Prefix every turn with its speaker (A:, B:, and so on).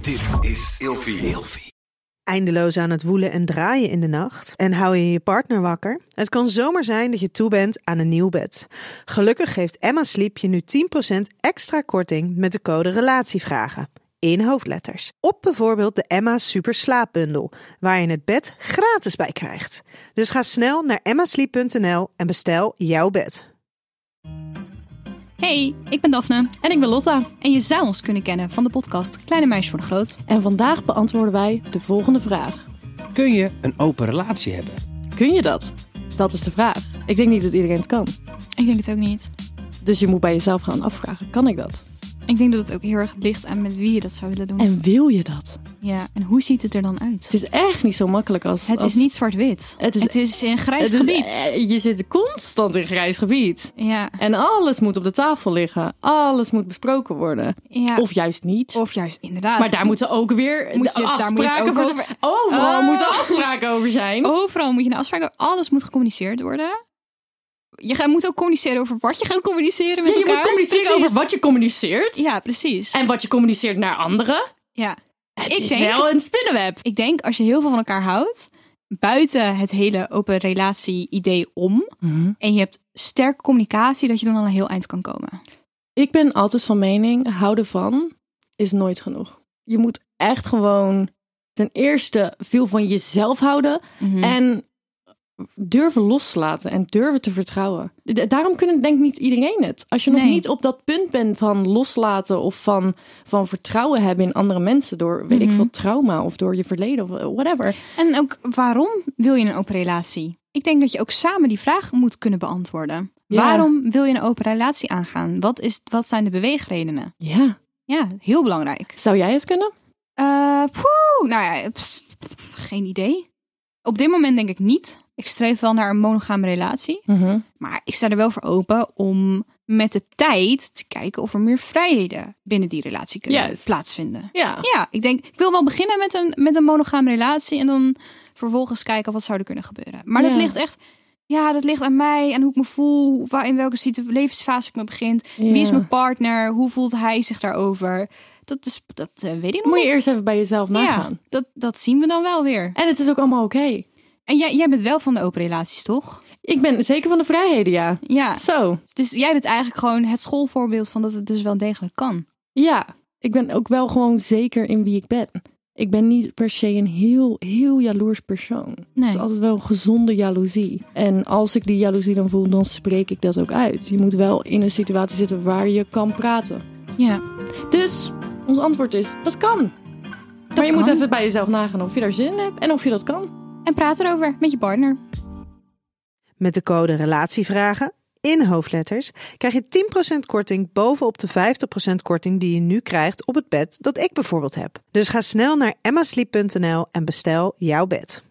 A: Dit is Ilfie.
B: eindeloos aan het woelen en draaien in de nacht? En hou je je partner wakker? Het kan zomaar zijn dat je toe bent aan een nieuw bed. Gelukkig geeft Emma Sleep je nu 10% extra korting met de code relatievragen. In hoofdletters. Op bijvoorbeeld de Emma Super Slaapbundel, waar je het bed gratis bij krijgt. Dus ga snel naar emmasleep.nl en bestel jouw bed.
C: Hey, ik ben Daphne
D: En ik ben Lotta.
C: en je zou ons kunnen kennen van de podcast Kleine Meisjes voor de Groot.
D: En vandaag beantwoorden wij de volgende vraag.
E: Kun je een open relatie hebben?
D: Kun je dat? Dat is de vraag. Ik denk niet dat iedereen het kan.
C: Ik denk het ook niet.
D: Dus je moet bij jezelf gaan afvragen, kan ik dat?
C: Ik denk dat het ook heel erg ligt aan met wie je dat zou willen doen.
D: En wil je dat?
C: ja, en hoe ziet het er dan uit?
D: Het is echt niet zo makkelijk als...
C: Het
D: als-
C: is niet zwart-wit.
D: Het is-
C: een grijs
D: Het is-
C: gebied.
D: eh, je zit constant in grijs gebied.
C: ja.
D: En alles moet op de tafel liggen. Alles moet besproken worden.
C: ja.
D: Of juist niet.
C: Of juist, inderdaad.
D: Maar daar moeten ook weer
C: Moet je- daar
D: afspraken
C: moet je
D: voor
C: ook
D: zijn. Overal
C: Ah.
D: moeten afspraken over zijn.
C: Overal moet je een afspraak hebben. Alles moet gecommuniceerd worden. Je gaat, moet ook communiceren over wat je gaat communiceren met
D: Ja, je
C: elkaar.
D: moet communiceren
C: Precies.
D: over wat je communiceert.
C: Ja, precies.
D: En wat je communiceert naar anderen.
C: ja.
D: Het
C: Ik
D: is
C: denk-
D: wel een spinnenweb.
C: Ik denk als je heel veel van elkaar houdt, buiten het hele open relatie idee om, en je hebt sterke communicatie, dat je dan al een heel eind kan komen.
D: Ik ben altijd van mening, houden van is nooit genoeg. Je moet echt gewoon ten eerste veel van jezelf houden en durven loslaten en durven te vertrouwen. D- Daarom kunnen denk ik niet iedereen het. Als je nog
C: Nee.
D: niet op dat punt bent van loslaten of van, van vertrouwen hebben in andere mensen door, weet ik
C: Mhm.
D: veel, trauma of door je verleden of eh, whatever.
C: En ook waarom wil je een open relatie? Ik denk dat je ook samen die vraag moet kunnen beantwoorden.
D: Ja.
C: Waarom wil je een open relatie aangaan? Wat, is, wat zijn de beweegredenen?
D: Ja.
C: Ja, heel belangrijk.
D: Zou jij het kunnen?
C: Eh, poeh, nou ja, pff, pff, geen idee. Op dit moment denk ik niet. Ik streef wel naar een monogame relatie.
D: Mhm.
C: Maar ik sta er wel voor open om met de tijd te kijken of er meer vrijheden binnen die relatie kunnen
D: Juist.
C: plaatsvinden.
D: Ja.
C: Ja, ik denk, ik wil wel beginnen met een, met een monogame relatie en dan vervolgens kijken wat zou er kunnen gebeuren. Maar dat
D: Ja.
C: ligt echt, ja, dat ligt aan mij en hoe ik me voel, waar, in welke situ- levensfase ik me begint. Wie is
D: Ja.
C: mijn partner? Hoe voelt hij zich daarover? Dat, is, dat eh, weet ik nog
D: Moet je
C: niet.
D: eerst even bij jezelf nagaan.
C: ja, dat, dat zien we dan wel weer.
D: En het is ook allemaal oké.
C: En jij, jij bent wel van de open relaties, toch?
D: Ik ben zeker van de vrijheden, ja.
C: Ja.
D: Zo,
C: Dus jij bent eigenlijk gewoon het schoolvoorbeeld van dat het dus wel degelijk kan.
D: ja. Ik ben ook wel gewoon zeker in wie ik ben. Ik ben niet per se een heel, heel jaloers persoon.
C: Nee.
D: Het is altijd wel een gezonde jaloezie. En als ik die jaloezie dan voel, dan spreek ik dat ook uit. Je moet wel in een situatie zitten waar je kan praten.
C: Ja.
D: Dus ons antwoord is, dat kan. maar je moet
C: kan.
D: even bij jezelf nagaan of je daar zin in hebt en of je dat kan.
C: En praat erover met je partner.
B: Met de code Relatievragen in hoofdletters krijg je 10% korting bovenop de 50% korting die je nu krijgt op het bed dat ik bijvoorbeeld heb. Dus ga snel naar emmasleep.nl en bestel jouw bed.